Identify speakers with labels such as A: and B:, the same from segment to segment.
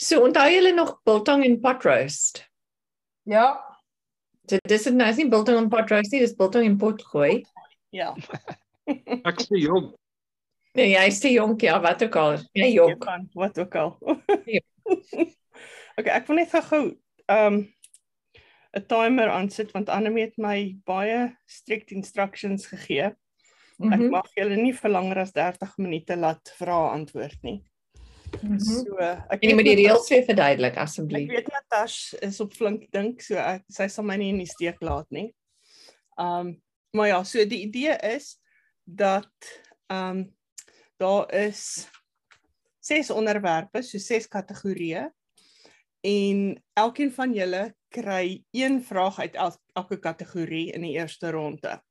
A: So onthou julle nog biltong en pot roast.
B: Ja.
A: So dis dit nou is nie biltong en pot roast nie, dis biltong en pot gooi.
B: Ja.
C: Ek sê jong,
A: Nee, jy is te jonk ja, wat ook al. Jy
B: Jy
A: jonk.
B: kan wat ook al.
A: Ja.
B: okay, ek wil net gou-gou ehm 'n timer aan sit want Annelie het my baie strict instructions gegee. Ek
A: Mhm,
B: mag julle nie vir langer as 30 minute laat vra antwoord nie.
A: mhm.
B: So ek
A: En jy moet die
B: Natas-
A: reëls weer verduidelik
B: Ek
A: asseblief.
B: weet Natash is op flink dink, so ek, sy sal my nie in die steek laat nie. Um maar ja, so die idee is dat um daar is ses onderwerpe, so ses kategorieë en elkeen van julle kry een vraag uit el, elke kategorie in die eerste ronde.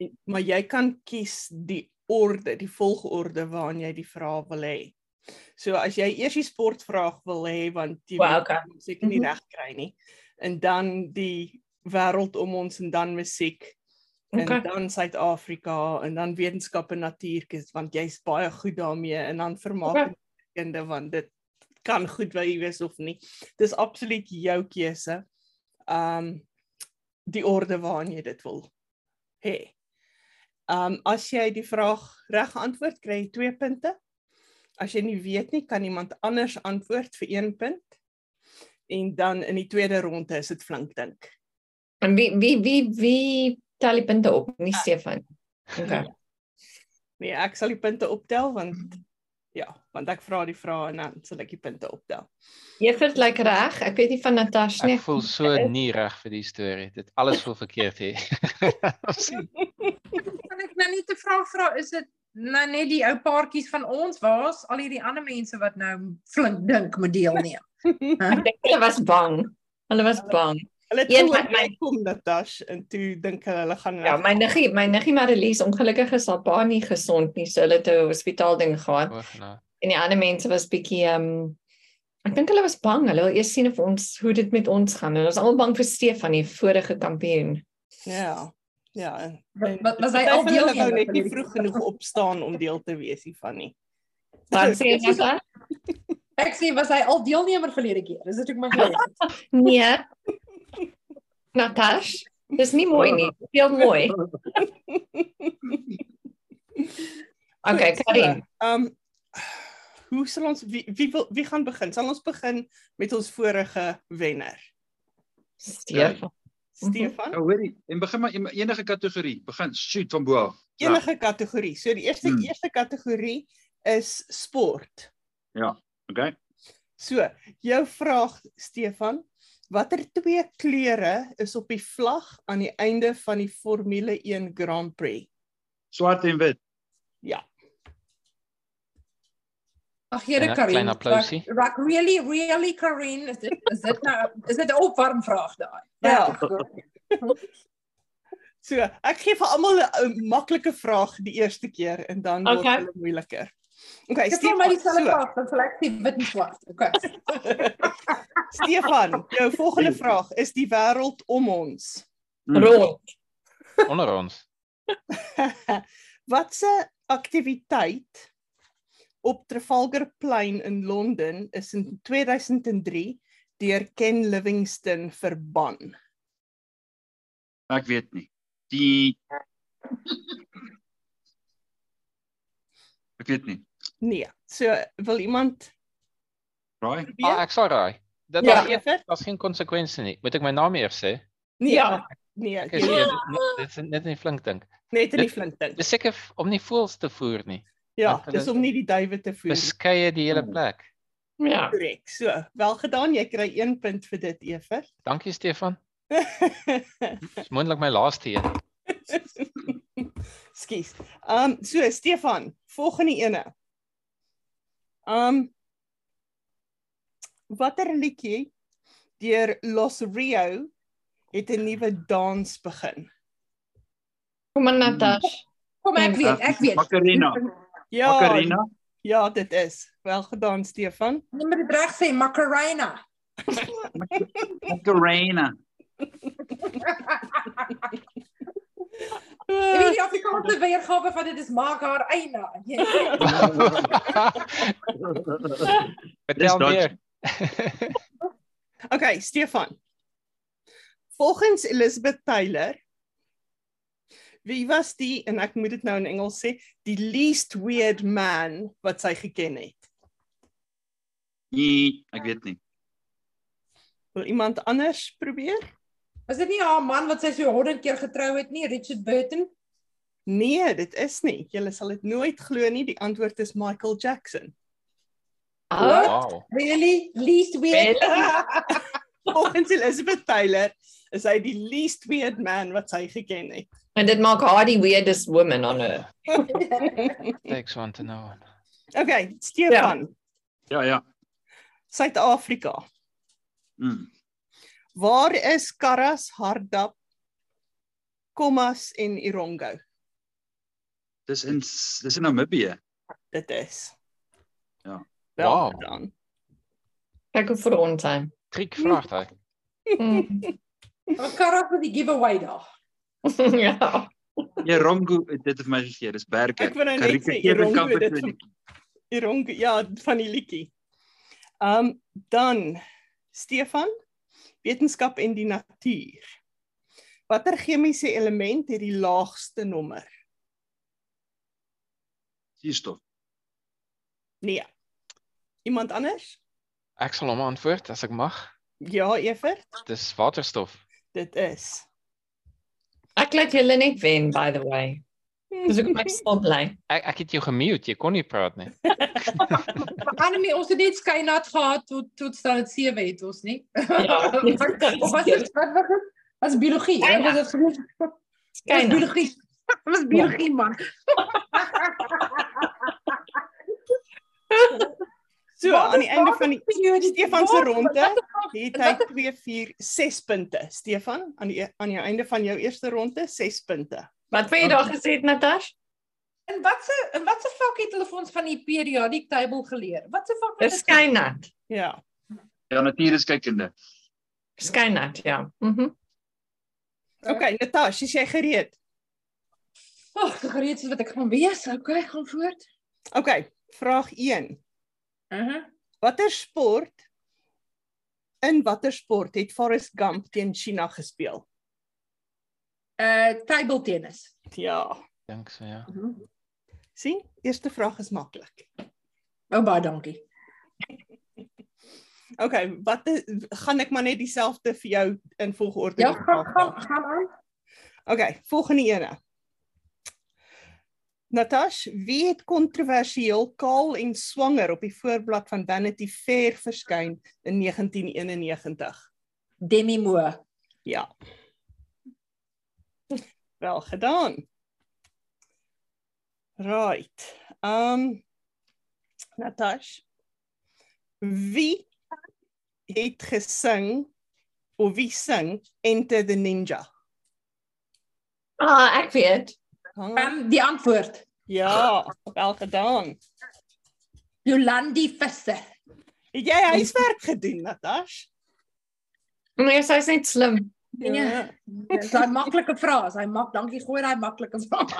B: En, maar jy kan kies die orde, die volgorde waarin jy die vrae wil hê. So as jy eers die sportvraag wil hê want jy
A: Wel,
B: weet
A: okay.
B: jy gaan seker nie
A: Mhm.
B: reg kry nie en dan die wêreld om ons en dan musiek okay. en
A: Okay.
B: dan Suid-Afrika en dan wetenskap en natuurkunde want jy's baie goed daarmee en dan vermaak
A: Okay.
B: kinders want dit kan goed by jy wees of nie. Dis absoluut jou keuse. Um die orde waarin jy dit wil hê. Um as jy die vraag reg antwoord kry jy 2 punte. As jy nie weet nie, kan iemand anders antwoord vir 1 punt. En dan in die tweede ronde is dit flink dink.
A: En wie wie wie wie tel die punte op? Nie Stefan. Okay.
B: Nee, ek sal die punte optel want ja, want ek vra die vrae en dan sal ek die punte optel.
A: Evert lyk reg. Ek weet nie van Natasha nie.
C: ek voel so nie reg vir die storie. Dit alles voel verkeerd hier.
D: Kan ek nou net 'n vraag vra, is dit nou net die ou paartjies van ons waar's al hierdie ander mense wat nou flink dink moet deelneem?
A: Ek dink hulle was bang. Hulle was bang.
B: Hulle
A: Een
B: toe
A: van my-
B: my kom Natasha en toe dink hulle hulle gaan
A: Ja, my niggie, my niggie Marilise, ongelukkig is haar pa nie gesond nie, so hulle het 'n hospitaal ding gehad.
E: nou,
A: En die ander mense was bietjie ehm um, ek dink hulle was bang. Hulle wil eers sien of ons hoe dit met ons gaan. Hulle was almal bang vir Stefan, die vorige kampioen.
B: ja. Ja. en-
D: Wa-
B: en
D: wa- was hy
B: party
D: al
B: van hulle
D: deelnemer
B: wou net
D: van
B: nie
D: hierdie-
B: vroeg genoeg opstaan om deel te wees hiervan nie.
A: Dan sê jy dan?
D: Ek sê was hy al deelnemer verlede keer. Is dit ook my gewees?
A: Nee. Natasha, dis nie mooi nie. Heel mooi. Okay, Karin.
B: Ehm hoe sal ons wie wie wil wie gaan begin? Sal ons begin met ons vorige wenner,
A: Stefan. Mhm.
B: Stefan?
C: Nou hoorie, en begin maar en- enige kategorie, begin shoot van bo af.
B: enige kategorie. So die eerste
C: Hmm.
B: hmm. eerste kategorie is sport.
C: Okay.
B: So, jou vraag Stefan, watter twee kleure is op die vlag aan die einde van die Formule 1 Grand Prix?
C: Swart en wit.
D: Ag Here
C: En 'n
D: Karin.
C: klein
D: raak-
C: applausie.
D: Raak really really Karin, is dit is dit nou is dit 'n opwarm vraag daai?
B: Ja. So, ek gee vir almal 'n- 'n maklike vraag die eerste keer en dan word
A: Okay.
B: okay. hulle moeiliker. Okay,
D: Ek sê maar dieselfde
B: so,
D: vraag, dan sal ek sê wit en swart. Okay.
B: Stefan, jou volgende vraag is die wêreld om ons.
F: Hmm.
A: Rond.
C: Onder ons.
B: Watse aktiwiteit op Trafalgar Plain in Londen is in 2003 deur Ken Livingstone verban?
C: Ek weet nie. Die Ek weet nie.
B: Nee. So wil iemand
C: Raai.
B: weet?
E: Ah, ek sal raai. Dit
B: ja,
E: ja.
B: Evert?
E: was geen konsekwensie nie. Moet ek my naam eers sê?
B: Nee.
A: Ja.
B: Nee,
E: Ek is
B: jy,
E: eers- net- dit is net nie flink dink.
B: net in die
E: dit-
B: flink ding.
E: Dis seker f- om nie voels te voer nie.
B: Ja,
E: dit-
B: dis om nie die duiwe te voer. nie.
E: Beskeie die hele
C: Hmm.
E: plek.
A: Ja.
B: Korrek. So, wel gedaan, jy kry 1 punt vir dit, Evert.
E: Dankie Stefan. Dis moontlik my laaste een.
B: Skus. Ehm um, so Stefan, volgende ene. Ehm um, watter liedjie deur Los Rio het 'n nuwe dans begin?
A: Kom maar Natasha.
D: Kom ek
B: Mm.
D: weet, ek weet.
C: Eh, Macarena.
B: Ja,
C: Macarena.
B: ja, dit is. Wel gedaan Stefan.
D: Jy moet dit reg sê, Macarena.
C: Macarena.
D: Jy weet die Afrikaanse weergawe van dit is maak haar eina. Jy weet.
C: Dis
E: Vertel
C: Dutch.
E: meer.
B: Okay, Stefan. Volgens Elizabeth Taylor wie was die en ek moet dit nou in Engels sê, die least weird man wat sy geken het?
F: Nee, ek weet nie.
B: Wil iemand anders probeer?
D: Was dit nie haar man wat sy so 100 keer getrou het nie, Richard Burton?
B: Nee, dit is nie. Julle sal dit nooit glo nie. Die antwoord is Michael Jackson.
D: Oh, nee. really? Least weird.
B: Volgens Elizabeth Taylor is hy die least weird man wat sy geken het.
A: En dit maak haar die weirdest woman on earth.
E: Takes one to know one.
B: Okay, Stefan,
F: Ja, ja.
B: Suid-Afrika.
C: Hmm.
F: Mm.
B: Waar is Karas, Hardap, Kommas en Irongo?
F: Dis in S- dis in Namibië.
B: Dit is.
F: Ja.
B: Wel
E: Wow.
B: gedaan.
A: Kyk hoe vir ons hy.
E: Triek vraagteken.
A: Mm.
D: Wat kan ek vir die giveaway daar?
A: ja.
F: Erongo het dit vir my gegee. Dis Berke.
B: Ek wou nou net sê, Erongo het dit vir- Irongo, ja, van die liedjie. Ehm um, dan Stefan, wetenskap en die natuur. Watter chemiese element het die laagste nommer?
F: Suurstof.
B: Nee. Iemand anders?
E: Ek sal hom antwoord as ek mag.
B: Ja, Evert,
E: Dis waterstof.
B: dit is.
A: Ek laat julle net wen by the way. Dis ook my stil bly.
E: Ek ek het jou gemute, jy kon nie praat nie.
D: Annemie, ons het net skynat gehad tot tot staat 7 het ons nie.
A: Ja.
D: of was dit wat was dit? Was biologie? Ja, was dit genoeg? Was
A: Skyn.
D: biologie. Was biologie man.
B: So
D: Wat
B: aan
D: is
B: die einde
D: daar
B: van die
D: periode?
B: Stefan se
D: Wat-
B: ronde
D: wat-
B: het hy 2 4 6 punte. Stefan, aan die aan die einde van jou eerste ronde 6 punte.
A: Wat wou jy daar gesê het Natash?
D: En wat se en wat se vak het hulle vir ons van die periodic table geleer? Wat se vak was
A: Dis skynat.
B: Ja.
F: Ja, natuurskykende.
A: Skynat, ja. Mhm.
B: OK, Natasha, is jy gereed?
D: Ag, ek gereed is wat ek gaan wees. Okay, gaan voort.
B: OK, vraag 1.
D: Mhm. Uh -huh.
B: Watter sport in watter sport het Forrest Gump teen China gespeel?
D: Uh table tennis.
B: Ja.
E: Dink so ja.
D: Uh -huh.
B: sien? Eerste vraag is maklik.
D: Oh, baie dankie.
B: OK, wat is, gaan ek maar net dieselfde vir jou in volgorde
D: Ja,
B: die
D: gaan
B: vraag
D: gaan gaan aan.
B: OK, volgende ene. Natash, wie het kontroversieel kaal en swanger op die voorblad van Vanity Fair verskyn in 1991?
D: Demi Moore.
B: Ja. Wel gedaan. Right. Um Natash, wie het gesing of wie sing Enter the Ninja?
A: Ah, ek weet.
B: Hang
D: Ehm
B: aan.
D: um, die antwoord.
B: Ja, wel gedaan.
D: Jolandi Visser.
B: Het jy huiswerk gedoen, Natash?
A: Nee, sy's net slim.
D: Ja. Dis 'n maklike vraag. Hy maak dankie gooi daai maklike vraag.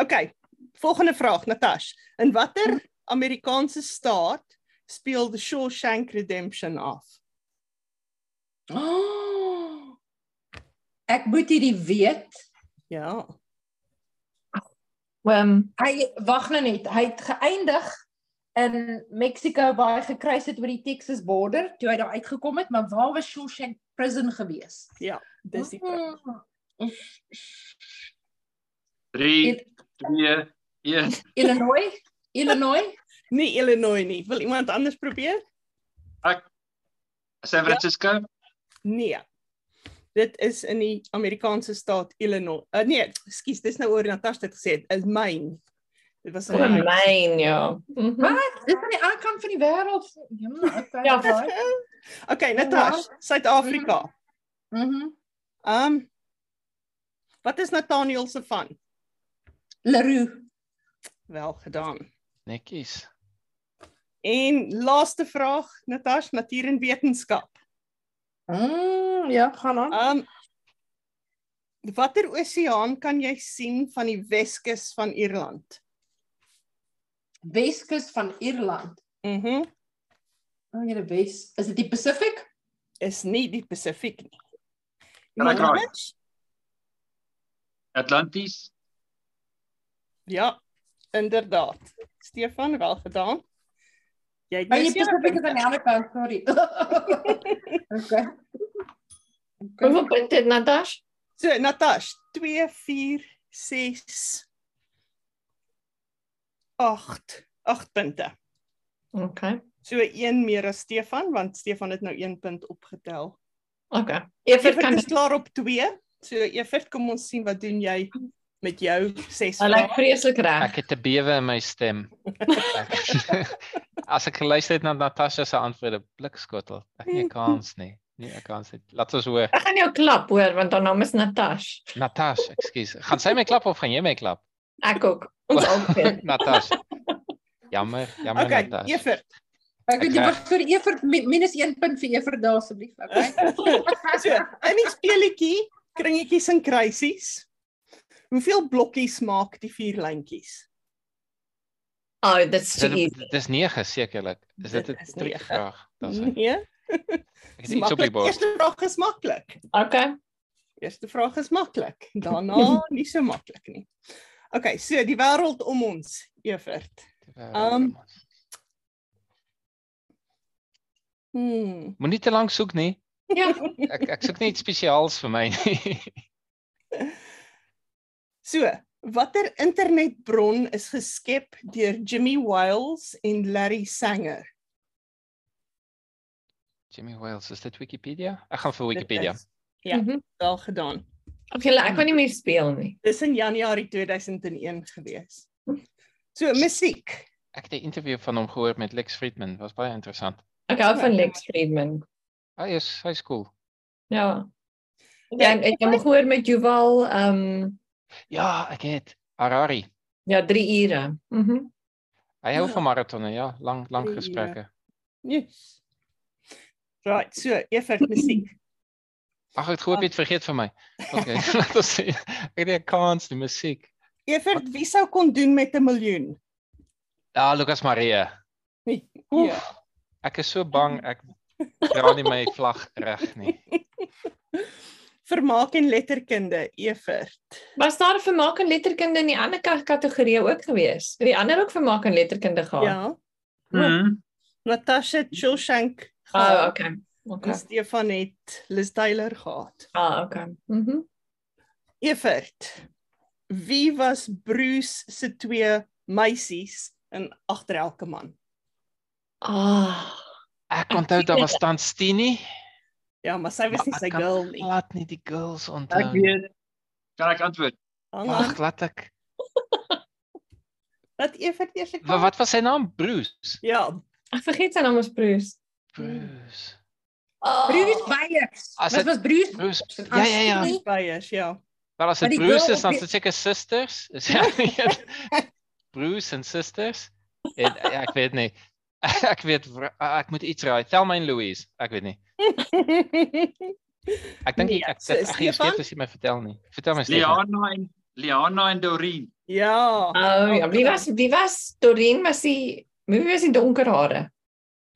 B: OK. Volgende vraag, Natash. In watter Amerikaanse staat speel The Shawshank Redemption af?
D: Oh, ek moet hierdie weet.
B: Ja.
A: Ehm um,
D: Hy wag nou net. Hy het geëindig in Mexico waar hy gekruis het oor die Texas border toe hy daar uitgekom het, maar waar was Shawshank prison gewees? Hmm.
B: Dis die vraag.
D: vraag.
F: 3
D: Dit-
F: 2 1
D: Illinois? Illinois?
B: Nie Illinois nie. Wil iemand anders probeer?
D: Ja.
F: San Francisco.
B: Nee. Dit is in die Amerikaanse staat Illinois. Uh, nee, ekskuus, dis nou oor Natash dit gesê het. Is Maine. Dit was in Maine.
A: myn ja. Mhm.
D: Wat? Dis aan die ander kant van die wêreld. Ja, maar okay.
A: Ja.
D: baie.
B: Okay, Natash, Suid-Afrika.
D: Mhm.
B: Ehm um, Wat is Nathaniel se van?
D: Leroux.
B: Wel gedaan.
E: Netjies.
B: En laaste vraag, Natash, natuur en wetenskap.
D: Mm, ja, gaan aan.
B: Um watter oseaan kan jy sien van die Weskus van Ierland?
D: Weskus van Ierland.
B: Mhm.
D: Oh, jy Wes, is dit die Pacific?
B: Is nie die Pacifiek nie.
F: Kan ek raai?
B: Anders?
F: Atlanties.
B: Ja, inderdaad. Stefan, wel gedaan. Jy het
D: Maar
B: nou
D: Nee, die
B: sewe
D: Pacific is
B: punte.
D: aan die ander kant, sorry. okay. okay.
A: Hoeveel punte het Natasha?
B: So Natash, 2 4 6 8 8 punte.
A: Okay.
B: So een meer as Stefan want Stefan het nou 1 punt opgetel.
A: Okay. Evert
B: Evert
A: kan
B: is klaar op 2. So Evert, kom ons sien wat doen jy met jou 6
A: Hulle is
B: vrae.
A: vreeslik reg.
E: Ek het 'n bewe in my stem. Ek- As ek geluister het na Natasha se antwoorde, blikskottel. Ek het nie 'n kans nie. Nee, ek kan dit. Laat ons hoor.
A: Ek gaan jou klap hoor want haar naam is Natasha.
E: Natasha, ekskuus. Gaan sy my klap of gaan jy my klap?
A: Ek ook. Ons albei.
E: Natasha. Jammer, jammer
B: Okay,
E: Natasha.
B: Evert.
D: Ek weet jy
E: Ek-
D: vir Evert mi- minus 1 punt vir Evert daar asseblief, okay?
B: So, in die speletjie kringetjies en kruisies. Hoeveel blokkies maak die vier lyntjies?
A: Oh, dit's
E: Is
A: too
E: dit-
A: easy.
E: Dit is 9 sekerlik. Is dit
B: Dit is
E: 'n
B: nege.
E: vraag? Dis ek.
B: Nee,
E: Ek
B: dis
E: het iets op die
B: maklik.
E: bord.
B: Eerste vraag is maklik.
A: Okay.
B: Eerste vraag is maklik. Daarna nie so maklik nie. OK, so die wêreld om ons, Evert. Ehm, Hmm.
E: Moenie te lank soek nie.
A: Ja.
E: Ek ek soek net iets spesiaals vir my nie.
B: So, watter internetbron is geskep deur Jimmy Wales en Larry Sanger?
E: Jimmy Wales, is dit Wikipedia? Ek gaan vir Wikipedia.
B: Dit is Ja.
A: Mhm.
B: Wel gedaan.
A: Of julle ek wil nie meer speel nie.
B: Dis in Januarie 2001 gewees. So, musiek.
E: Ek het 'n interview van hom gehoor met Lex Friedman, was baie interessant.
A: Ek hou van Lex Friedman.
E: Hy is hy's cool.
A: Ja. Ja, en ek het hom gehoor met Juval ehm um,
E: Ja, ek het Harari.
A: ja, 3 ure. Mhm. Mm
E: Hy hou
B: Ja.
E: van maratonne, ja, lang lang
B: Drie ure.
E: gesprekke.
B: Yes. Right, so Evert musiek.
E: Ag, ek hoop jy het vergeet van my. Okay, laat ons sien. Ek het nie 'n kans die musiek.
B: Evert, wie sou kon doen met 'n miljoen?
E: Ja, Lucas Maria.
B: Nee,
E: Oef,
B: ja.
E: Ek is so bang ek dra nie my vlag reg nie.
B: Vermaak en letterkunde, Evert.
A: Was daar vermaak en letterkunde in die ander ka- kategorie ook gewees? Het die ander ook vermaak en letterkunde
B: Ja.
A: gehad?
B: ja.
F: Mm.
B: Natasha Chilshank gehad.
A: Oh, okay. Okay.
B: En Stefan het Liz Taylor gehad.
A: Ah, okay. Mhm. Mm
B: Evert. Wie was Bruce se twee meisies in agter elke man?
A: ah.
E: Ek onthou daar was Tantini.
B: Ja, maar sy was nie
E: Maar
B: sy
E: ek kan
B: girl nie.
E: Laat nie die girls
F: Ek
E: onthou.
F: weet. Kan ek antwoord?
B: Hang aan.
E: Wag, laat ek.
B: Dat Evert eers ek.
E: Wa- Wat was sy naam? Bruce.
B: Ja,
A: Ek vergeet sy naam is Bruce.
E: Bruce.
A: Oh.
D: Bruce Byers.
E: As
D: Dit
E: het-
D: was Bruce.
E: Bruce.
D: As
E: Ja ja ja.
D: die-
B: Beyers, ja.
E: Wel as
D: Maar
E: dit
D: die
E: Bruce
D: girl
E: is
D: op
E: dan
D: die-
E: se seker sisters. Is ja. Bruce en sisters. En eh, ja, ek weet nie. Ek weet wra- ah, ek moet iets raai. Tel my en Louise. Ek weet nie. Ek dink
B: Nee,
E: nee, ek
B: so,
E: dit ek gaan
B: Stefan?
E: steeds as jy my vertel nie. Vertel my Stefan.
F: Liana en Liana en Doreen.
B: ja.
E: Ah,
A: Oh, ja, wie was wie was Doreen was sy Wie was die donker hare?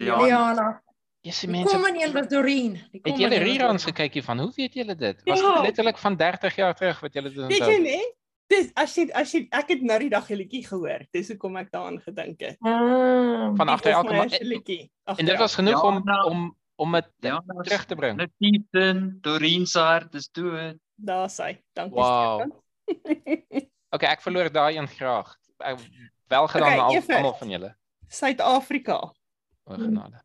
F: Liana. Ja.
D: Liana.
E: Yes,
D: Die
E: mense.
D: kom in een was Doreen. Die kom
E: Het julle
D: in een was
E: reruns
D: Doreen.
E: gekyk hiervan? Hoe weet julle dit? Was
A: Ja.
E: dit letterlik van 30 jaar terug wat julle dit
B: Weet jy
E: onthou?
B: nie? Dis as jy as jy ek het nou die dag 'n liedjie gehoor. Dis hoekom ek daaraan gedink het.
A: Ah.
E: Van agter elke man.
B: se liedjie.
E: En dit was genoeg om
F: Ja, nou.
E: om om dit
F: Liana
E: terug te bring.
F: Nathan, Doreen se hart is dood.
B: daar sy. Dankie.
E: Wow.
B: Stefan.
E: Okay, ek verloor daai een graag. Ek wel gedaan
B: Okay,
E: aan al
B: Evert. Mm.
E: almal van julle.
B: Suid-Afrika.
E: O genade.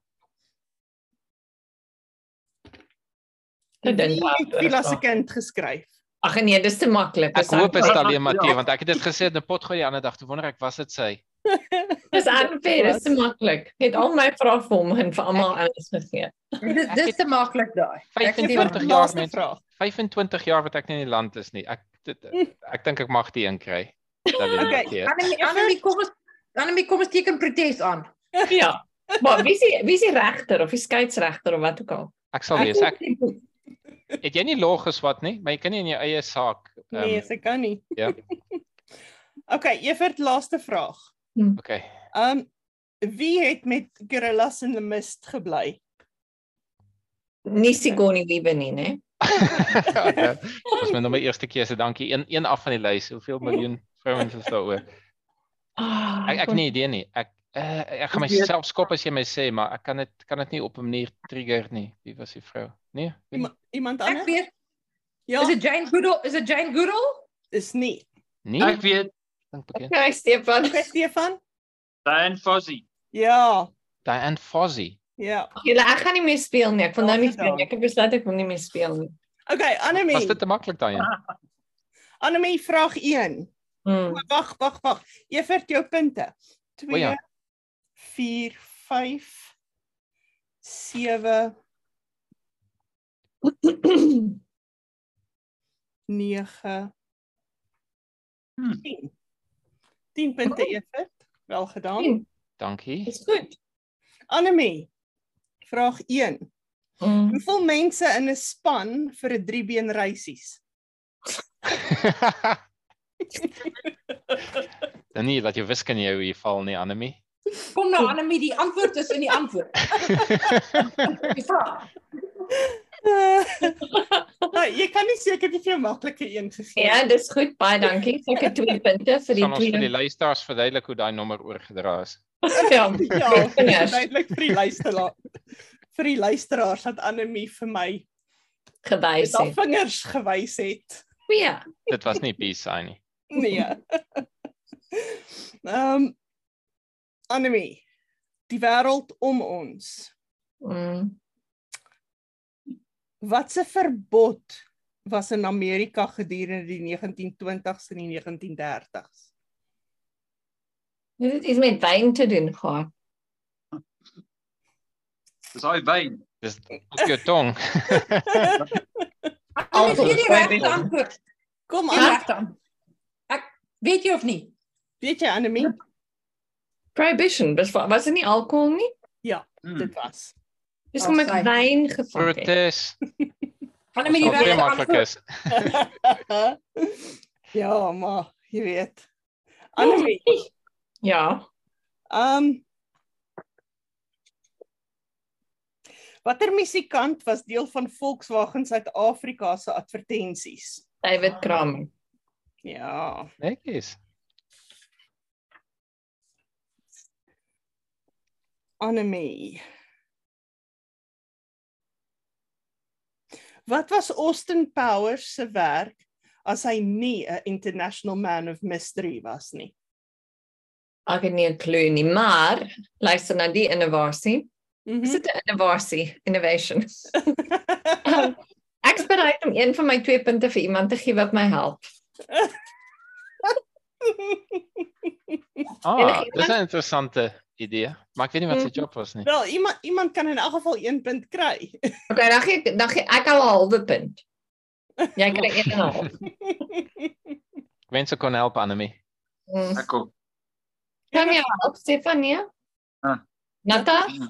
A: Ek dink
B: Wie het Vila se kind geskryf.
A: Ag nee, dis te maklik.
E: Ek
A: Dis
E: hoop is
A: unfair.
E: dit alleen Matthee
F: Ja.
E: want ek het dit gesê in 'n pot gooi die ander dag. Toe wonder ek was dit sy.
A: Dis unfair, dis te maklik. Ek het al my vrae vir hom en vir almal anders gegee.
D: Dis dis te maklik daai. Ek sê
E: 25
D: wat-
E: jaar
B: Laaste
E: mense.
B: vraag.
E: 25 jaar wat ek nie in die land is nie. Ek dit, ek dink ek mag die een kry. Alleen
B: Okay,
E: Matthee.
D: Annemie Annemie kom ons Annemie kom ons teken protes aan.
A: Ja. Maar wie is die- wie is die regter of die skeieregter of wat ook al?
E: Ek sal
A: Ek
E: lees. Oh, nee, Ek
B: Nee,
E: het jy nie law geswat nie, maar jy kan nie in jou eie saak. ehm,
B: Nee, sy kan nie.
E: ja.
B: Okay, Evert laaste vraag.
E: Okay.
B: Um Wie het met Gorillas in the Mist gebly?
A: Nie Sigourney Weaver nie, né?
E: ja, ja. Ons moet nog my eerste keer se dankie. Een een af van die lys. Hoeveel miljoen vrouens is daaroor?
A: Ah,
E: Ek ek het nie idee nie. Ek uh, ek gaan myself skop as jy my sê, maar ek kan dit kan dit nie op 'n manier trigger nie. Wie was die vrou? Nee. weet nie.
B: Iemand, iemand
D: Ek
B: anders?
D: weet, is
B: Ja,
D: dit Jane Goodall? Is dit Jane Goodall?
B: is nie.
E: Nee.
F: Ek weet
E: Dink bekend.
A: Hy Ja, Stefan.
B: Ek Stefan?
F: Diane Fozzie.
B: Ja,
E: Diane Fozzie.
B: ja.
A: Julle ek gaan nie meer speel nie. Ek wil nou nie
B: Daar's
A: speel nie. Ek het besluit ek wil nie meer speel nie.
B: Okay,
E: Was
B: Annelie.
E: dit te maklik Diane?
B: Annelie vraag 1.
A: Mm.
B: O, Wag, wag, wag. Evert jou punte. 2
E: O ja.
B: 4 5 7 9
F: Hmm.
B: 10. 10 punte Evert. Wel gedaan.
A: Tien.
E: Dankie.
A: Dis goed.
B: Annelie. Vraag 1.
A: Mm.
B: Hoeveel mense in 'n span vir 'n driebeen reisies?
E: Dan nie dat jou wiskunde jou hier val nie, Annelie.
D: Kom nou Annelie, die antwoord is in die antwoord. Die vraag.
B: nou, jy kan nie seker die veel maklike een gegee
A: Ja, dis goed. Baie dankie. So ek het 2 punte vir die
E: Kan ons vir die
A: twee.
E: luisteraars verduidelik hoe daai nommer oorgedra is?
A: Ja.
B: Ja,
A: vingers.
B: duidelik vir die luisteraar vir die luisteraars dat Annelie vir my
A: gewys
B: met haar
A: het.
B: vingers gewys het.
A: Ja.
E: Dit was nie peace sign nie.
B: Nee. Ehm um, Annelie, die wêreld om ons.
A: Mm.
B: Watse verbod was in Amerika gedurende die 1920s en die 1930s?
A: Dit het iets met wyn te doen gehad.
F: Dis daai wyn.
E: Dis op jou tong.
A: Alkohol
D: Annelie, gee die
A: is baie
D: regte
A: beter.
D: antwoord.
B: Kom
D: Die
B: aan,
D: regte antwoord. Ek weet jy of nie?
B: weet jy Annelie,
A: Prohibition, was was dit nie alkohol nie?
F: Hmm.
B: dit was.
A: Dis kom ek
D: Afsy.
A: wyn gevat het.
E: Protes.
D: Annelie,
E: Dit
D: die
E: is baie
D: regte
E: maklik
D: antwoord.
E: is.
B: ja, maar jy weet. Annelie,
A: Ja.
B: ehm um, Watter musikant was deel van Volkswagen Suid-Afrika se advertensies?
A: David Kramer.
B: Ja.
E: Netjies.
B: Anime. Wat was Austin Powers se werk as hy nie 'n international man of mystery was nie?
A: Ek het nie 'n klou nie, maar luister na die innovasie. Is
B: Mhm.
A: dit 'n innovasie? Innovation. Ehm, Ek is bereid om een van my twee punte vir iemand te gee wat my help.
E: Ah,
A: Enige
E: dis 'n interessante idee. Maar ek weet nie wat sy
A: Mm.
E: job was nie.
B: Wel, iemand iemand kan in elk geval 1 punt kry.
A: Okay, dan gee ek dan gee ek al 'n halwe punt. Jy kry 1 en 'n half.
E: Ek wens ek kon help Annelie.
A: Mm.
F: Ek kom.
A: Kan jy help Stefanie?
F: Ah.
A: Natasha,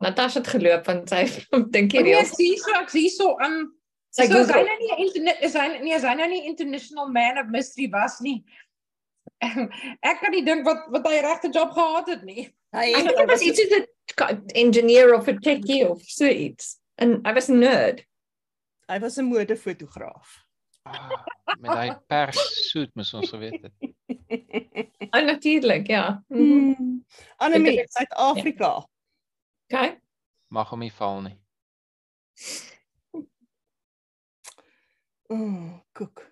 A: Natasha het geloop want sy dink
D: Ek
A: hierdie
D: weet hierso, ek hierso aan
A: sy
D: so Oh, um, is hy
A: Google.
D: nou nie 'n internet is hy nie is hy nou nie international man of mystery was nie. Ek kan nie dink wat wat hy regte job gehad het nie.
B: Hy
A: Ek dink dit was iets soos 'n engineer of 'n techie of so iets. En I was a nerd.
B: hy was 'n modefotograaf.
E: Ah, met daai perssuit moes ons geweet het.
A: Oh, natuurlik, ja. Mhm.
B: Hmm. Annelie, Suid-Afrika.
A: Okay.
E: Mag hom nie val nie.
B: Mm, koek.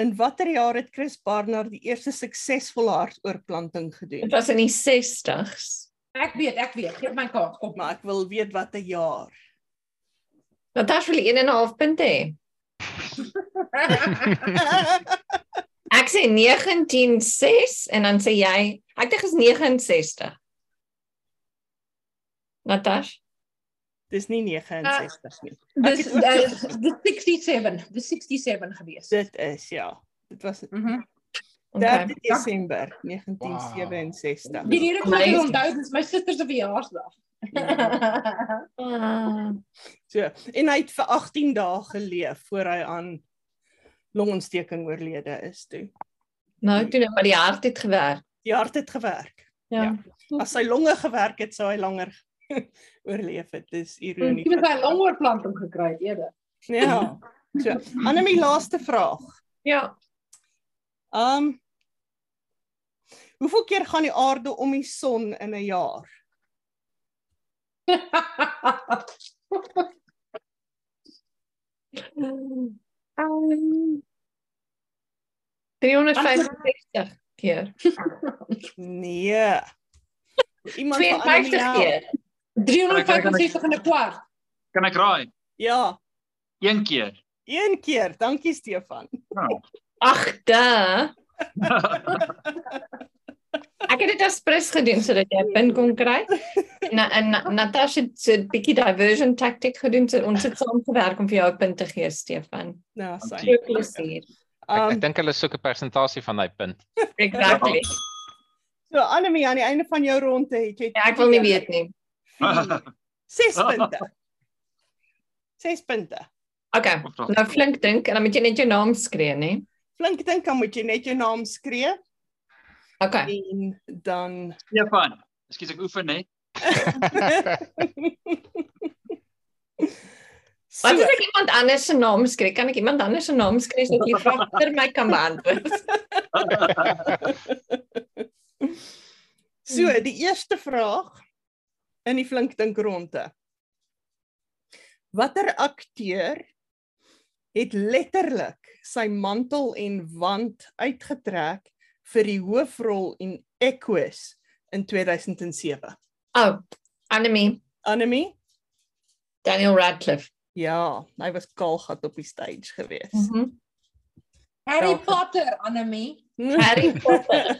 B: In watter jaar het Chris Barnard die eerste suksesvolle hartoortplanting
A: Dit
B: gedoen?
A: was in die 60s.
D: Ek weet, ek weet. Geef my kaart op.
B: Maar ek wil weet watter jaar.
A: Natasha wil 1 en 'n half punte hê. Ek sê 196 en dan sê jy, ek dink is 69. Natasha,
B: Dis nie 69 nie.
D: Dis dis dis 67, dis 67 gewees.
B: Dit is ja. Dit was 13
D: Mhm.
A: okay.
B: Desember 1967.
D: Die rede vir my
A: Amazing.
D: onthou dis my suster se verjaarsdag.
A: Ah,
B: So, en hy het vir 18 dae geleef voor hy aan longontsteking oorlede is toe.
A: nou toe nou maar die hart het gewerk.
B: Die hart het gewerk.
A: Ja.
E: Ja.
B: As sy longe gewerk het, sou hy langer oorleef het. Dis ironie.
D: Miskien het hy 'n longoortplanting gekry het eerder.
B: Ja. So, Annelie laaste vraag.
A: Ja.
B: Um Hoeveel keer gaan die aarde om die son in 'n jaar?
A: Um, 365 keer.
B: Nee. Iemand vir Annelie
A: 52
B: help.
A: keer.
D: 365 en 'n kwart.
F: Kan ek raai?
B: Ja,
F: Een keer.
B: een keer. Dankie Stefan.
A: Ag, da. Ek het dit as pres gedoen sodat jy 'n pin kon kry. Na en Na- Natasha het so 'n bietjie diversion tactic gedoen. So ons het saamgewerk om vir jou 'n punt te gee, Stefan.
B: Nou, sy.
F: Dankie.
A: Veel plesier.
E: Ek,
B: Um
E: ek dink hulle soek 'n persentasie van daai punt.
A: Exactly.
B: so Annelie aan die einde van jou ronde het jy
A: Ja, ek wil nie weet nie.
F: Nou
B: 6 punte. 6 punte.
A: Okay. Nou flink dink en dan moet jy net jou naam skree, nê?
B: Flink dink dan moet jy net jou naam skree
A: Okay.
B: en dan
F: Stefan. Ekskuus ek oefen hè.
A: Wat
B: so,
A: as ek iemand anders se naam skree? Kan ek iemand anders se naam skree sodat jy vir my kan beantwoord?
B: so die eerste vraag in die flink dink ronde. Watter akteur het letterlik sy mantel en wand uitgetrek vir die hoofrol in Equus in 2007?
A: Oh, Annemie,
B: Annemie?
A: Daniel Radcliffe.
B: Ja, hy was kaalgat op die stage gewees.
A: Mhm.
D: Harry
B: Elke.
D: Potter, Annelie.
A: Harry Potter.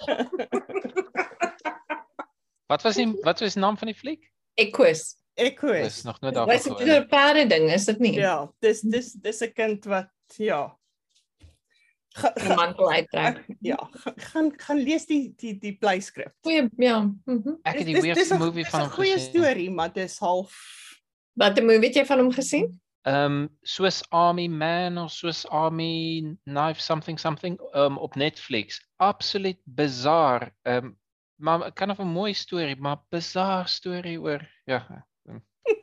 E: Wat was die wat was die naam van die fliek?
A: Equus.
E: Dis
B: Equus.
E: nog nooit
A: Wat is
E: daarvan
A: dit
E: gehoor.
A: 'n perde ding, is dit nie?
B: Ja, dis dis dis 'n kind wat ja. Ga,
A: Die
B: ga,
A: mantel uittrek.
B: ja, ga- gaan gaan lees die die die pleiskrif.
A: Goeie ja. Mhm.
E: Ek het die weird movie van hom
B: Dis 'n goeie
E: gesien.
B: storie, maar dis half
A: Wat 'n movie het jy van hom gesien?
E: Ehm Swiss Army Man of Swiss Army Knife something something um, op Netflix. Absoluut bizar. Ehm maar kan of 'n mooi storie, maar bizar storie oor ja.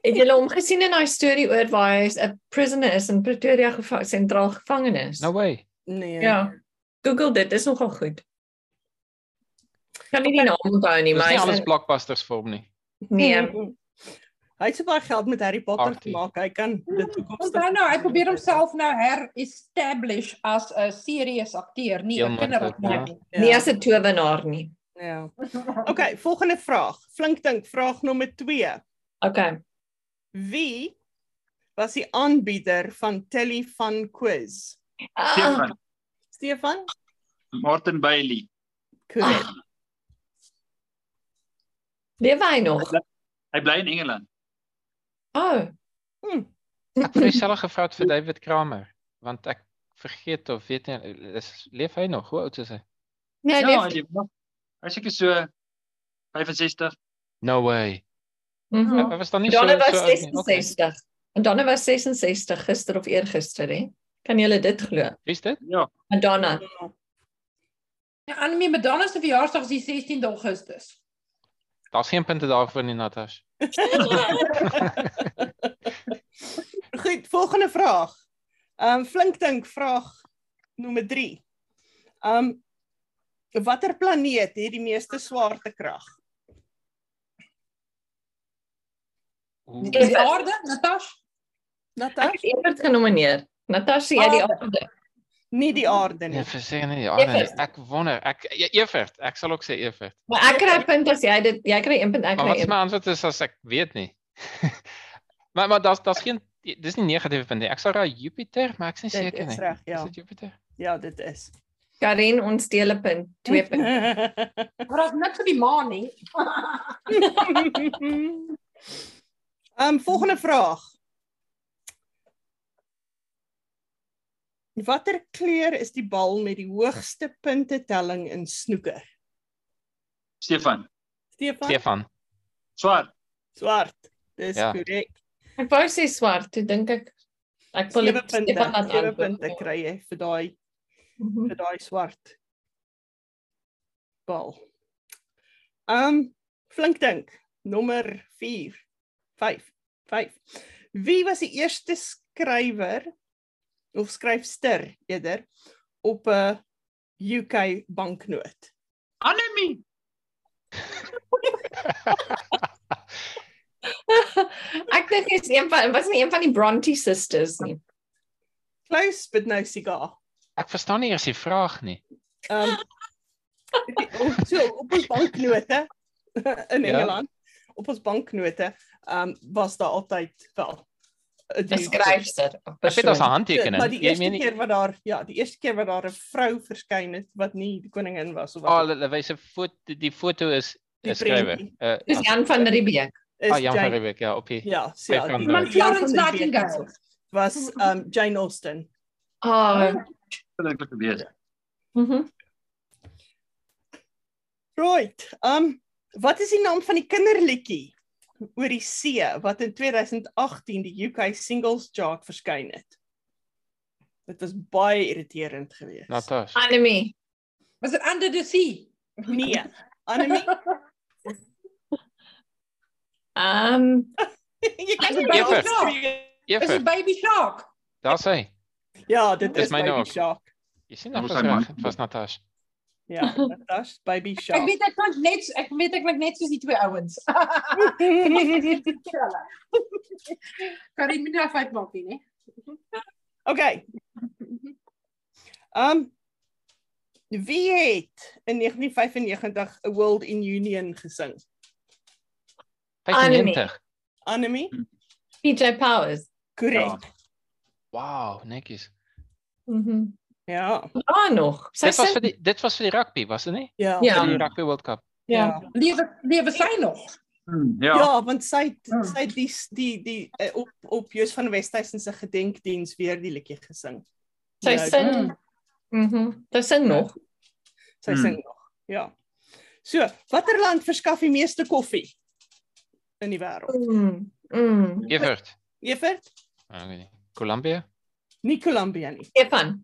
A: Het jy hom gesien in daai storie oor waar hy 'n prisoner is in Pretoria geva sentraal gevangenis?
E: No way.
B: nee.
A: ja. Google dit, is nogal goed. Kan nie die naam onthou nie,
E: Dis
A: maar
E: nie
A: hy's
E: alles
A: in-
E: blockbusters vir hom nie.
A: nee.
B: Hy het so baie geld met Harry Potter
E: Artie.
B: gemaak. Hy kan dit toekoms.
D: Onthou nou, hy probeer homself nou her-establish as 'n serieus akteur, nie 'n
E: Heel maklik, ja.
D: kinderacteur nie.
A: Nie Nee, as 'n towenaar nie.
B: Ja. Okay, volgende vraag. Flink dink, vraag nommer 2.
A: Okay.
B: Wie was die aanbieder van Telly van Quiz?
A: Ah,
F: Stefan.
B: Stefan?
F: Martin Bailey.
B: Korrek.
A: leef hy nog?
F: Hy bly in Engeland.
A: Oh.
B: Hm.
E: Ek het myself gevra het vir David Kramer, want ek vergeet of weet nie is leef hy nog? Hoe oud is hy?
A: Nee,
F: Ja,
A: leef.
F: hy leef nog. Hy seker so 65.
E: No way.
A: Mhm.
E: Hy hy was dan nie Ja, so
A: Donne was
E: so oud nie. Okay.
A: 66. En Donne was 66 gister of eergister, hè? Kan julle dit glo?
E: Wie is dit?
F: Ja,
A: Madonna.
D: Ja, Annelie Madonna se verjaarsdag is die 16de Augustus.
E: Daar's geen punte daarvoor nie, Natas.
B: Goed, volgende vraag. Ehm um, flink dink vraag nommer 3. Ehm um, watter planeet het die meeste swaartekrag?
A: Ja.
E: Oeh.
D: Is die aarde, Natasha?
B: Natas?
A: Ek het Evert genomineer. Natasha, jy
B: Ah.
A: die aarde.
B: Nie die aarde nie.
E: Nee, verseker nie. Ja, nee,
A: Evert.
E: ek wonder. Ek E- Evert, ek sal ook sê Evert.
A: Maar ek kry 'n punt as jy dit jy kry 1 punt, ek
E: Maar
A: kry
E: wat is
A: 1.
E: my antwoord is as ek weet nie. maar maar daar's daar's geen dis nie negatiewe punte nie. Ek sal raai Jupiter, maar ek's nie
B: Dit
E: seker
B: is
E: nie.
B: reg,
E: Is
B: ja.
E: dit Jupiter?
B: Ja, dit is.
A: Karin, ons deel 'n punt, 2 punt.
D: Maar daar's niks op die maan nie.
B: Ehm um, volgende vraag. Watter kleur is die bal met die hoogste puntetelling in snooker?
F: Stefan.
B: Stefan?
E: Stefan.
F: Swart.
B: Swart. Dis
E: Ja.
B: korrek.
A: Ek wou sê swart, toe dink ek ek wil
B: Sewe
A: dit
B: punte,
A: Stefan laat
B: sewe punte
A: antwoord.
B: kry jy vir daai
A: Mhm.
B: vir daai swart bal. Um flink dink. Nommer 4. 5. 5. Wie was die eerste skrywer of skryfster eerder op 'n UK banknoot?
G: Annemie.
A: ek dink dit is een van was nie een van die Bronte sisters nie.
B: Close but no cigar.
E: Ek verstaan nie eers die vraag nie.
B: Ehm um, so op ons banknote in
E: Ja.
B: Engeland, op ons banknote, ehm um, was daar altyd wel 'n
A: Die skryfster. of
E: Ek weet daar's 'n
A: persoon.
E: handtekening.
B: Maar die
E: Jy
B: eerste
E: meen nie
B: keer wat daar ja, die eerste keer wat daar 'n vrou verskyn het wat nie die koningin was of wat
E: al
B: ook
E: hulle wys 'n foto die foto is
B: Die
E: 'n skrywer.
B: prentjie.
E: Uh,
A: Dis Jan van Riebeeck.
B: is.
E: ah, Jan van
B: Jane-
E: Riebeeck, ja, op hier.
B: Ja, so
E: Sy
B: ja,
E: van
B: die-
E: Riebeeck.
B: die Jan
D: Florence
B: van Riebeeck
D: Nightingale.
B: was um Jane Austen.
A: Ah.
F: wil eintlik gewees.
A: mhm.
B: Right. Um wat is die naam van die kinderliedjie oor die see wat in 2018 die UK Singles Chart verskyn het? Dit was baie irriterend geweest.
E: Natas.
A: Annemie.
D: Was dit Under the Sea?
B: Nee. Annemie,
A: Ehm um,
B: jy kan
D: Is
B: nie my
D: dit Baby
E: Eva.
B: afskree.
D: Shark? Is
E: Effe,
D: dit Baby Shark?
E: daar's hy.
B: Ja, dit
E: Dis
B: is
E: myne
B: Baby
E: ook.
B: Shark.
E: Jy sien dat
F: Ons
E: was
F: hy
E: reg,
F: man.
E: dit was Natas.
B: Ja, dit is Baby
D: Ek
B: Shark.
D: weet ek klink net ek weet ek klink net soos die twee ouens. Kan jy my nou afwyk maak nie, né?
B: Okay. Um Wie het in 1995 'n World in Union gesing?
E: 95.
B: Annemie?
A: PJ Powers.
B: Korrek.
E: Wow, netjies.
A: Mhm.
B: Ja.
A: Ah nog. Sy
E: Dit was
A: sing
E: vir die dit was vir die rugby, was dit nie?
B: Ja.
A: Ja.
E: Vir die Rugby World Cup.
B: Ja.
D: Lewe lewe sy nog.
F: Hmm,
B: Ja,
F: ja.
B: want sy het,
D: Hmm.
B: sy het die die die eh, op op Joos van Westhuizen se gedenkdiens weer die liedjie gesing.
A: sy
B: Ja,
A: sing.
D: Mm.
A: Mhm. Sy sing nog.
B: Sy
F: Hmm.
B: sing nog. Ja. So, watter land verskaf die meeste koffie in die wêreld?
A: Mm. Mm.
E: Evert.
B: Evert,
E: Ah, ek weet nie. Colombia?
B: nie Kolumbia nie.
A: Stefan.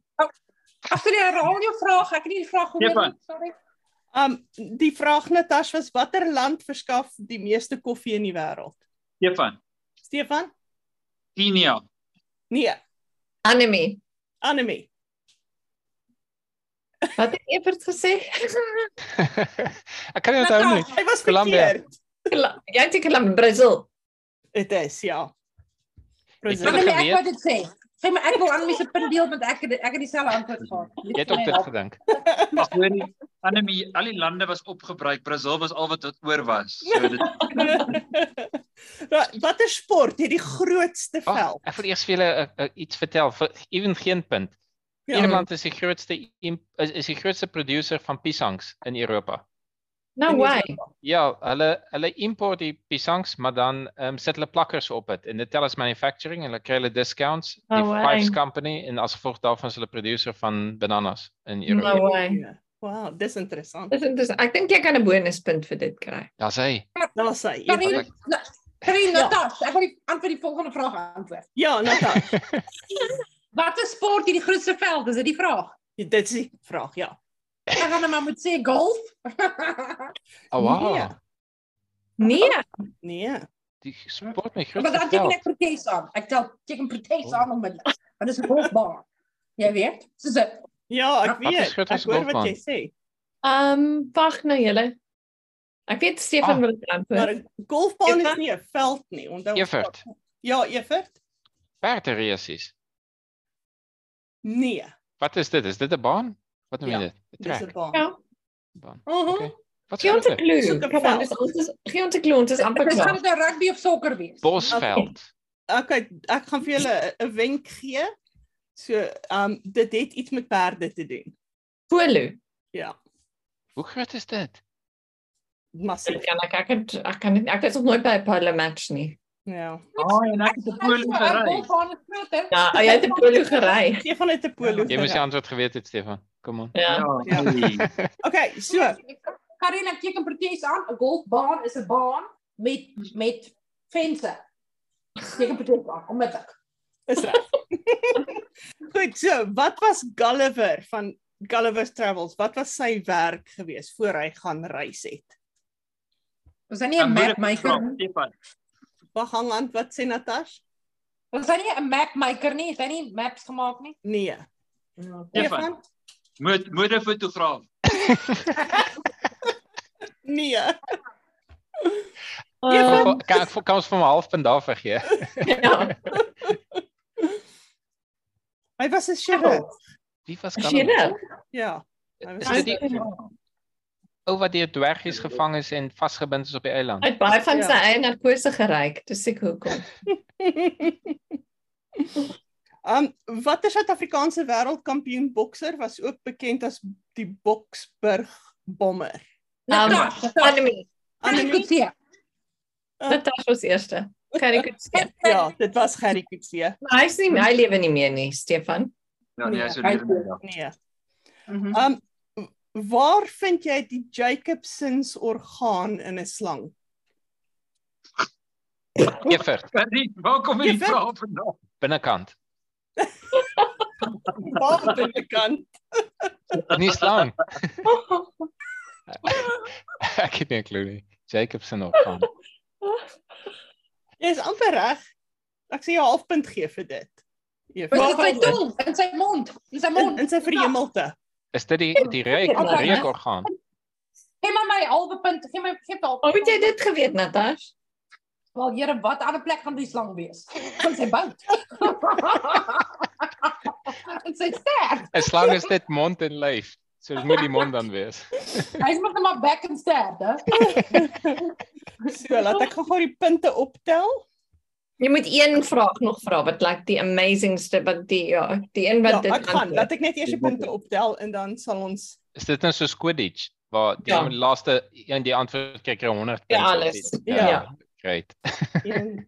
D: Agter herhaal nou jou vraag, ek het nie die vraag gehoor nie.
F: Stefan.
D: Sorry.
B: Um die vraag Natas was watter land verskaf die meeste koffie in die wêreld?
F: Stefan.
B: Stefan?
F: Kenia.
B: Nee,
A: Annemie.
B: Annemie.
A: Wat het Evert gesê?
E: ek kan nie onthou nie.
B: Hy was
E: Kolumbia.
B: verkeerd.
A: Kla- Jy het seker aan Brazil.
B: Dit is ja.
E: Ek
D: Maar
E: het
B: Presies.
E: het
D: nee, ek
E: geweet.
D: wou dit sê. Sê maar ek wil aan mense punt deel want ek het ek het dieselfde antwoord gehad.
E: Jy het ook dit gedink.
F: Ag hoor nie. Annemie, al die lande was opgebruik. Brazil was al wat wat oor was. So dit
B: Ja. Wa- Watter sport het die grootste
E: Wag,
B: veld?
E: ek wil eers vir julle eh, eh, iets vertel. Vir ewen geen punt.
B: Ja.
E: Ierland is die grootste imp- is, is die grootste produsent van piesangs in Europa.
A: No
B: In
A: way.
E: Ja, hulle hulle import die piesangs, maar dan ehm sit hulle plakkers op dit en dit tel as manufacturing en hulle kry hulle discounts. Die
A: No way.
E: Fives Company en as gevolg daarvan is hulle produsent van bananas in Europa.
A: No way.
B: Ja. Wow, dis interessant.
A: Dis dis ek dink jy kan 'n bonuspunt vir dit kry.
E: Daar's hy.
B: Daar sê
D: Kan
B: jy.
D: nie Karin Natas, ek wil die antwoord die volgende vraag antwoord.
B: Ja, Natas.
D: Watter sport het die grootste veld? Is dit die vraag?
B: Dit is die vraag, ja.
D: Ek gaan nou maar moet sê golf.
E: Oh, wow.
B: Nee.
A: Nee,
B: Nee.
E: Die sport met
D: Maar
E: grootste
D: dan teken
E: veld.
D: ek protes aan. Ek tel teken protes aan onmiddellik. Want dit is 'n golfbaan. Jy weet, soos 'n
B: Ja, ek
E: Wat is
B: weet.
E: groter
B: Ek
E: as
B: hoor wat
E: golfbaan?
B: jy sê.
A: ehm um, wag nou julle. Ek weet Stefan
E: Ah.
A: wil dit antwoord.
B: Maar 'n golfbaan is
A: Evert?
B: nie 'n veld nie. Onthou.
E: Evert,
B: Ja, Evert?
E: perderesies.
B: Nee,
E: Wat is dit? Is dit 'n baan? Wat noem jy
B: Ja,
E: dit? 'n
B: dis
E: Track.
B: 'n baan.
A: Ja.
E: Baan.
D: Mhm.
E: Okay. Wat is
A: Gee ons 'n
E: dit?
A: klou.
B: Soek 'n
A: Kom aan,
B: veld.
A: dis ons is gee ons 'n klou, ons is amper
D: Dit gaan
A: klaar.
D: dit 'n rugby of sokker wees.
E: Bosveld.
B: Okay, ek gaan vir julle 'n wenk gee. So, ehm um, dit het iets met perde te doen.
A: Polo.
B: Ja,
E: Hoe groot is dit?
A: Ek
B: massief.
A: kan ek ek het, ek kan nie, ek het nog nooit by 'n polo match nie.
B: Ja.
F: Ai, Ah, en ek het 'n polo gery.
D: Golfbaan is groter.
A: Ja, oh, jy het 'n polo gery.
B: Stefan het 'n polo.
E: Jy moes die
B: gery.
E: antwoord geweet het, Stefan. Kom aan.
A: Ja.
B: Ja.
F: hey.
B: Okay, so,
D: Karin, ek teken protes aan. 'n Golfbaan is 'n baan met met fense. Teken protes aan onmiddellik.
B: is reg. Goed, so, wat was Gulliver van Gulliver's Travels? Wat was sy werk gewees voor hy gaan reis het?
D: Was hy nie 'n
F: Dan moet
D: map
F: ek
D: maker?
F: vra, Stefan,
B: Wag hang aan wat sê Natasha?
D: Was hy nie 'n map maker nie? Het hy nie maps gemaak nie?
B: Nee.
F: Stefan. Moet moederfotograaf.
B: Nee. Ja.
A: Ehm,
E: Kan- Kan ek kan ons vir my halfpunt daar vergee?
A: ja,
B: Hy was 'n sheriff.
E: Wie was
A: as
E: kan?
A: jy
E: ons?
A: nou.
B: Ja. Hy was
E: Is dit die
A: Ehm,
B: sheriff.
E: ou wat deur
A: Ja,
E: dwergies gevang is en vasgebind is op die eiland?
A: Hy het baie van
B: Ja.
A: sy eie narkose geryk, dis ek hoekom.
B: Um watter Suid-Afrikaanse wêreldkampioen bokser was ook bekend as die Boksburg Bomber?
A: Um,
D: Natasha,
A: Annemie,
D: kan ek
B: Annelie?
D: goed sien?
A: dit was ons eerste. Kan ek dit sê?
B: Um, Ja, dit was Gerry Coetzee.
A: Maar Hy's nie hy lewe nie meer nie, Stefan.
F: Ja, nee, hy's so
D: Nee,
F: leer my dag.
B: Nee.
D: Mhm.
B: Um waar vind jy die Jacobsons orgaan in 'n slang?
E: Evert,
F: Ferdi, Nee, waar kom
B: Jy
F: hierdie
B: vind-
F: vraag vandaan?
E: binnekant.
B: Waar aan die kant?
E: Nie slang. ek het nie 'n klou nie. Jacobson opgaan.
B: Jy is amper reg. Ek sê jou halfpunt gee vir dit. Eva.
D: Was dit sy tong in sy mond? In sy
B: in,
D: mond.
B: in sy verhemelte.
E: Is dit die die reuk, die
A: Okay.
E: reukorgaan?
D: Gee my my halwe punt. Gee my gee my halwe.
A: Hoe Oh, het jy dit geweet, Natasha?
D: Wel, Here, wat ander plek gaan die slang wees? Van sy buik. Dit sê ster.
E: 'n Slang is dit mond en lyf. So dit moet die mond dan wees.
D: Hy's maar net maar back and ster, hè.
A: Ja.
B: So laat ek gou-gou die punte optel.
A: Jy moet een vraag nog vra wat lyk like die amazingste wat die ja, die een
B: Ja,
A: wat
B: ek
A: dit
B: gaan.
A: antwoord.
B: Laat ek net eers die punte optel en dan sal ons
E: Is dit nou so Quidditch waar die
A: Ja.
E: ja. laaste een die antwoord kry kry 100
A: Ja,
E: punte of
A: alles.
E: iets?
B: Ja.
E: Great.
B: een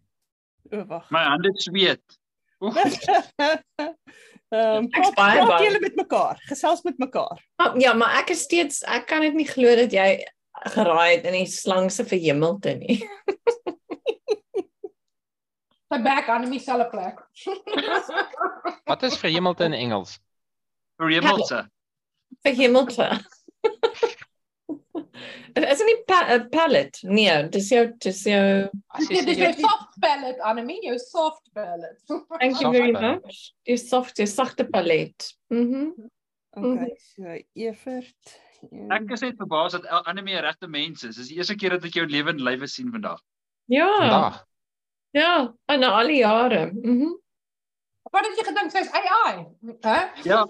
B: o wag.
F: My hande sweet. Oef,
B: Ehm um,
A: Ek's baie
B: praat
A: bang.
B: julle met mekaar, gesels met mekaar.
A: Maar- Ja, maar ek is steeds ek kan dit nie glo dat jy geraai het in die slang se verhemelte nie.
D: Sy back aan dieselfde plek.
E: Wat is verhemelte in Engels?
B: Ja.
F: Remelse.
A: Verhemelte. Dit is nie pa eh, pallet. Nee, dis jou dis jou
E: As jy
D: Dit is
E: sê
D: jou soft palette, Annelie, jou soft palette.
A: thank you
E: Soft
A: very
E: pallet.
A: much. Jou soft, jou sagte pallet. Mhm.
B: Okay, so Evert. een-
F: Ek is net verbaas dat el- ander meer regte mense is. Dis die eerste keer dat ek jou lewe en lywe sien vandag.
A: Ja.
E: vandag.
A: Ja, en al die jare. Mhm.
D: Wat het jy gedink sy's AI? Hè?
F: Ja,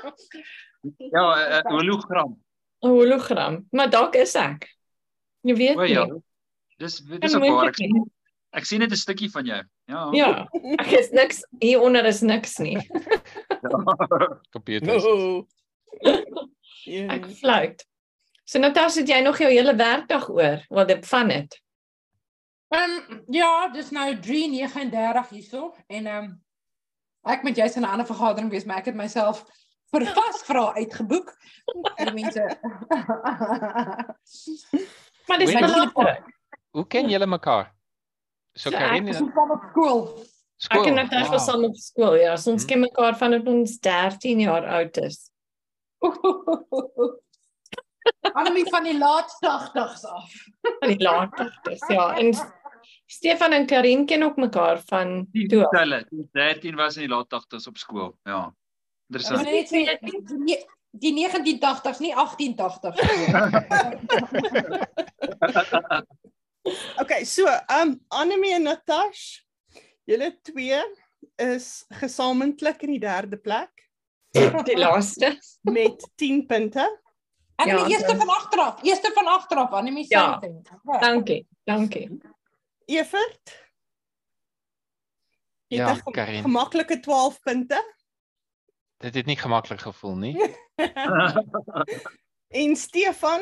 F: ja, 'n uh, hologram.
A: 'n Hologram. Maar dalk is ek. Jy weet
F: O
A: nie.
F: ja. Dis dis
A: Kan
F: ook waar
A: moontlik
F: ek
A: nie.
F: ek sien net 'n stukkie van jou. Ja.
A: Ja, ek is niks hieronder is niks nie.
E: Computers.
B: No.
A: Ek
B: Een-
A: fluit. So Natasha, het jy nog jou hele werkdag oor wat dit van dit?
D: Ehm um, ja, dis nou 3:39 hierso en ehm um, ek moet jous in 'n ander vergadering wees, maar ek het myself vir vasvra uitgeboek. Die mense.
A: Ja. Maar dis
E: Weet-
A: belangrik.
E: Hoe ken julle mekaar? So
A: Ja,
E: Karin
D: Ons kom op skool.
A: Ek
E: skool.
A: en Natasha
E: Wauw.
A: was saam op skool. Ja, so ons
E: Hmm.
F: Mm.
A: ken mekaar vanaf ons 13 jaar oud is.
D: Annemie van die laat 80s af.
A: Van die laat 80s, ja. En Stefan en Karin ken ook mekaar van toe. af.
F: Hulle, 13 was in die laat 80's op skool. Ja.
D: Ons
F: Interessant.
D: net sê die ne- die 1980s, nie 1880s.
B: Okay, so um Annelie en Natasha, julle twee is gesamentlik in die derde plek
A: Die laaste.
B: met 10 punte.
D: En
A: Ja,
D: die eerste
A: dan-
D: van agteraf, eerste van agteraf, Annemie sê
A: Ja.
D: dit.
A: Dankie. Dankie.
B: Evert. jy
E: Ja,
B: het 'n gem-
E: Karin.
B: Gemaklike 12 punte
E: Dit het nie gemaklik gevoel nie.
B: en Stefan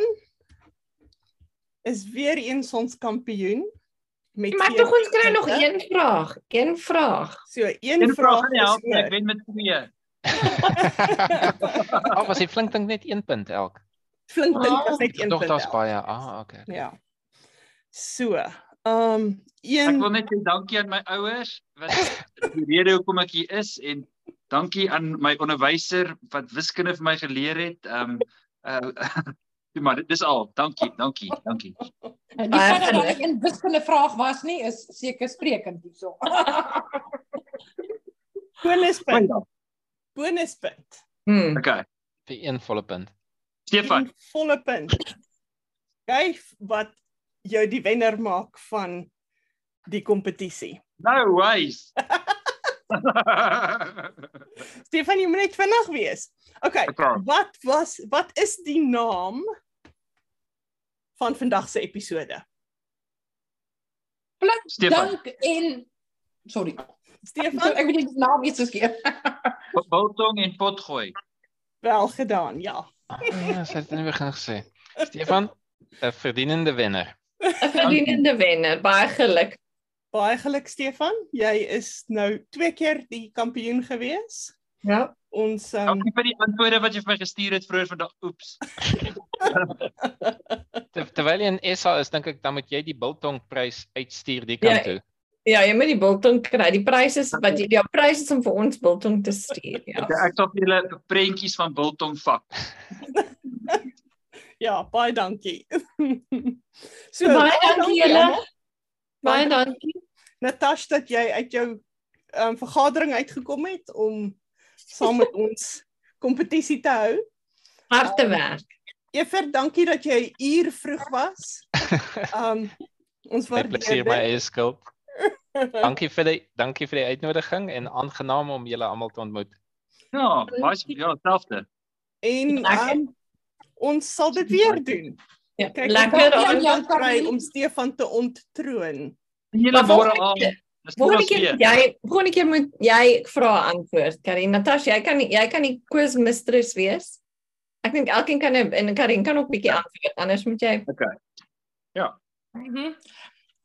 B: is weer eens ons kampioen met
A: Maar
B: sewe
A: tog ons kry nog
B: punte.
A: een vraag. Een vraag.
B: So een,
F: Een vraag
B: vraag
F: gaan nie
B: is
F: help nie. Ek
B: oor.
F: wen met 2.
E: Al Ah, was die flink dink net 1 punt elk.
B: Flink dink
A: Ah,
B: was net een
E: Tog
B: punt.
E: daar's
B: elk.
E: baie. Ah, okay.
B: Ja. So, ehm um,
F: Ek
B: een
F: wil net sê dankie aan my ouers wat die rede hoekom ek hier is en dankie aan my onderwyser wat wiskunde vir my geleer het. Ehm um, uh, Toe maar, dis al. Dankie, dankie, dankie.
D: En die
A: Baie
D: feit dat
A: geluk.
D: dit 'n wiskundige vraag was nie is seker sprekend hierso.
B: Bonuspunt.
F: Okay.
B: Bonuspunt.
A: Hmm.
E: vir een volle punt.
F: Stefan,
B: Een volle punt. Jy wat jou die wenner maak van die kompetisie.
F: no ways.
B: Stefan, jy moet net vinnig wees. OK.
F: Oké.
B: Wat was wat is die naam van vandag se episode?
D: Flink
F: Stefan.
D: dank en sorry.
B: Stefan,
D: Ek
B: ek
D: weet nie die naam iets geskep.
F: Biltong en potgooi.
A: Ehm,
B: wel gedaan. Ja.
E: Ah, ja, sy het dit in die begin gesê. Stefan, 'n verdienende wenner.
A: 'n Verdienende wenner. Baie geluk.
B: Baie geluk Stefan. Jy is nou twee keer die kampioen gewees.
A: Ja.
B: Ons um,
F: Dankie vir die antwoorde wat jy vir my gestuur het vroeër vandag. Oeps.
E: Ter, terwyl jy in SA is, dink ek dan moet jy die biltong prys uitstuur die kant
A: Ja,
E: toe.
A: Ja, jy moet die biltong kry. Die pryse is wat jy jou pryse is om vir ons biltong te stuur. Ja.
F: Ek ek sal vir julle prentjies van biltong vat.
B: ja, baie dankie. so
A: Baie dankie julle.
B: almal.
A: Baie dankie.
B: Natasha dat jy uit jou um, vergadering uitgekom het om saam met ons kompetisie te hou.
A: Harde werk.
B: Ever, dankie dat jy 'n uur vroeg was. Um ons
E: Met
B: waardeer
E: plesier my
B: dit.
E: eie skuld. Dankie vir die dankie vir die uitnodiging en aangenaam om julle almal te ontmoet.
F: Ja, baie ja, selfde.
B: en
A: Dankie.
B: um, ons sal dit weer doen.
A: Ja,
B: Kyk,
A: lekker.
D: ons-
A: aan.
D: Ja,
B: om kry om Stefan te onttroon.
F: Julle
A: Maar
F: môre
A: volgende
F: aan.
A: keer-
F: Dis môre
A: Volgende keer moet jy volgende keer moet jy vra antwoord. Karin, Natasha, jy kan nie, jy kan die quiz mistress wees. Ek dink elkeen kan 'n- en Karin kan ook bietjie antwoord. Anders moet jy
D: Mhm.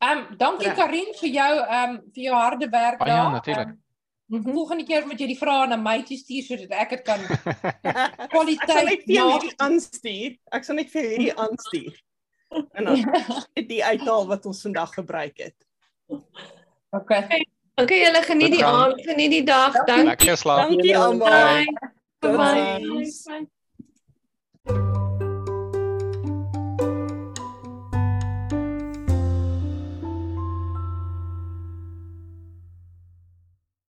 D: Ehm dankie
B: Ja.
D: Karin vir jou ehm vir jou harde werk
E: Ah,
D: daar.
E: ja, natuurlijk.
D: Ehm, volgende keer moet jy die vrae na my toe stuur sodat ek dit kan
B: Ek sal net
D: kwaliteit
B: vir jou
D: maak.
B: hierdie aanstuur. Ek sal net vir jou hierdie aanstuur. En dan die uithaal wat ons vandag gebruik het.
D: Okay.
A: Okay, julle geniet die
E: Bedankt.
A: aand, geniet die dag. Dankie.
E: Lekker slaap.
B: Dankie almal.
A: Bye. Bye.
B: Totsiens.
A: Bye.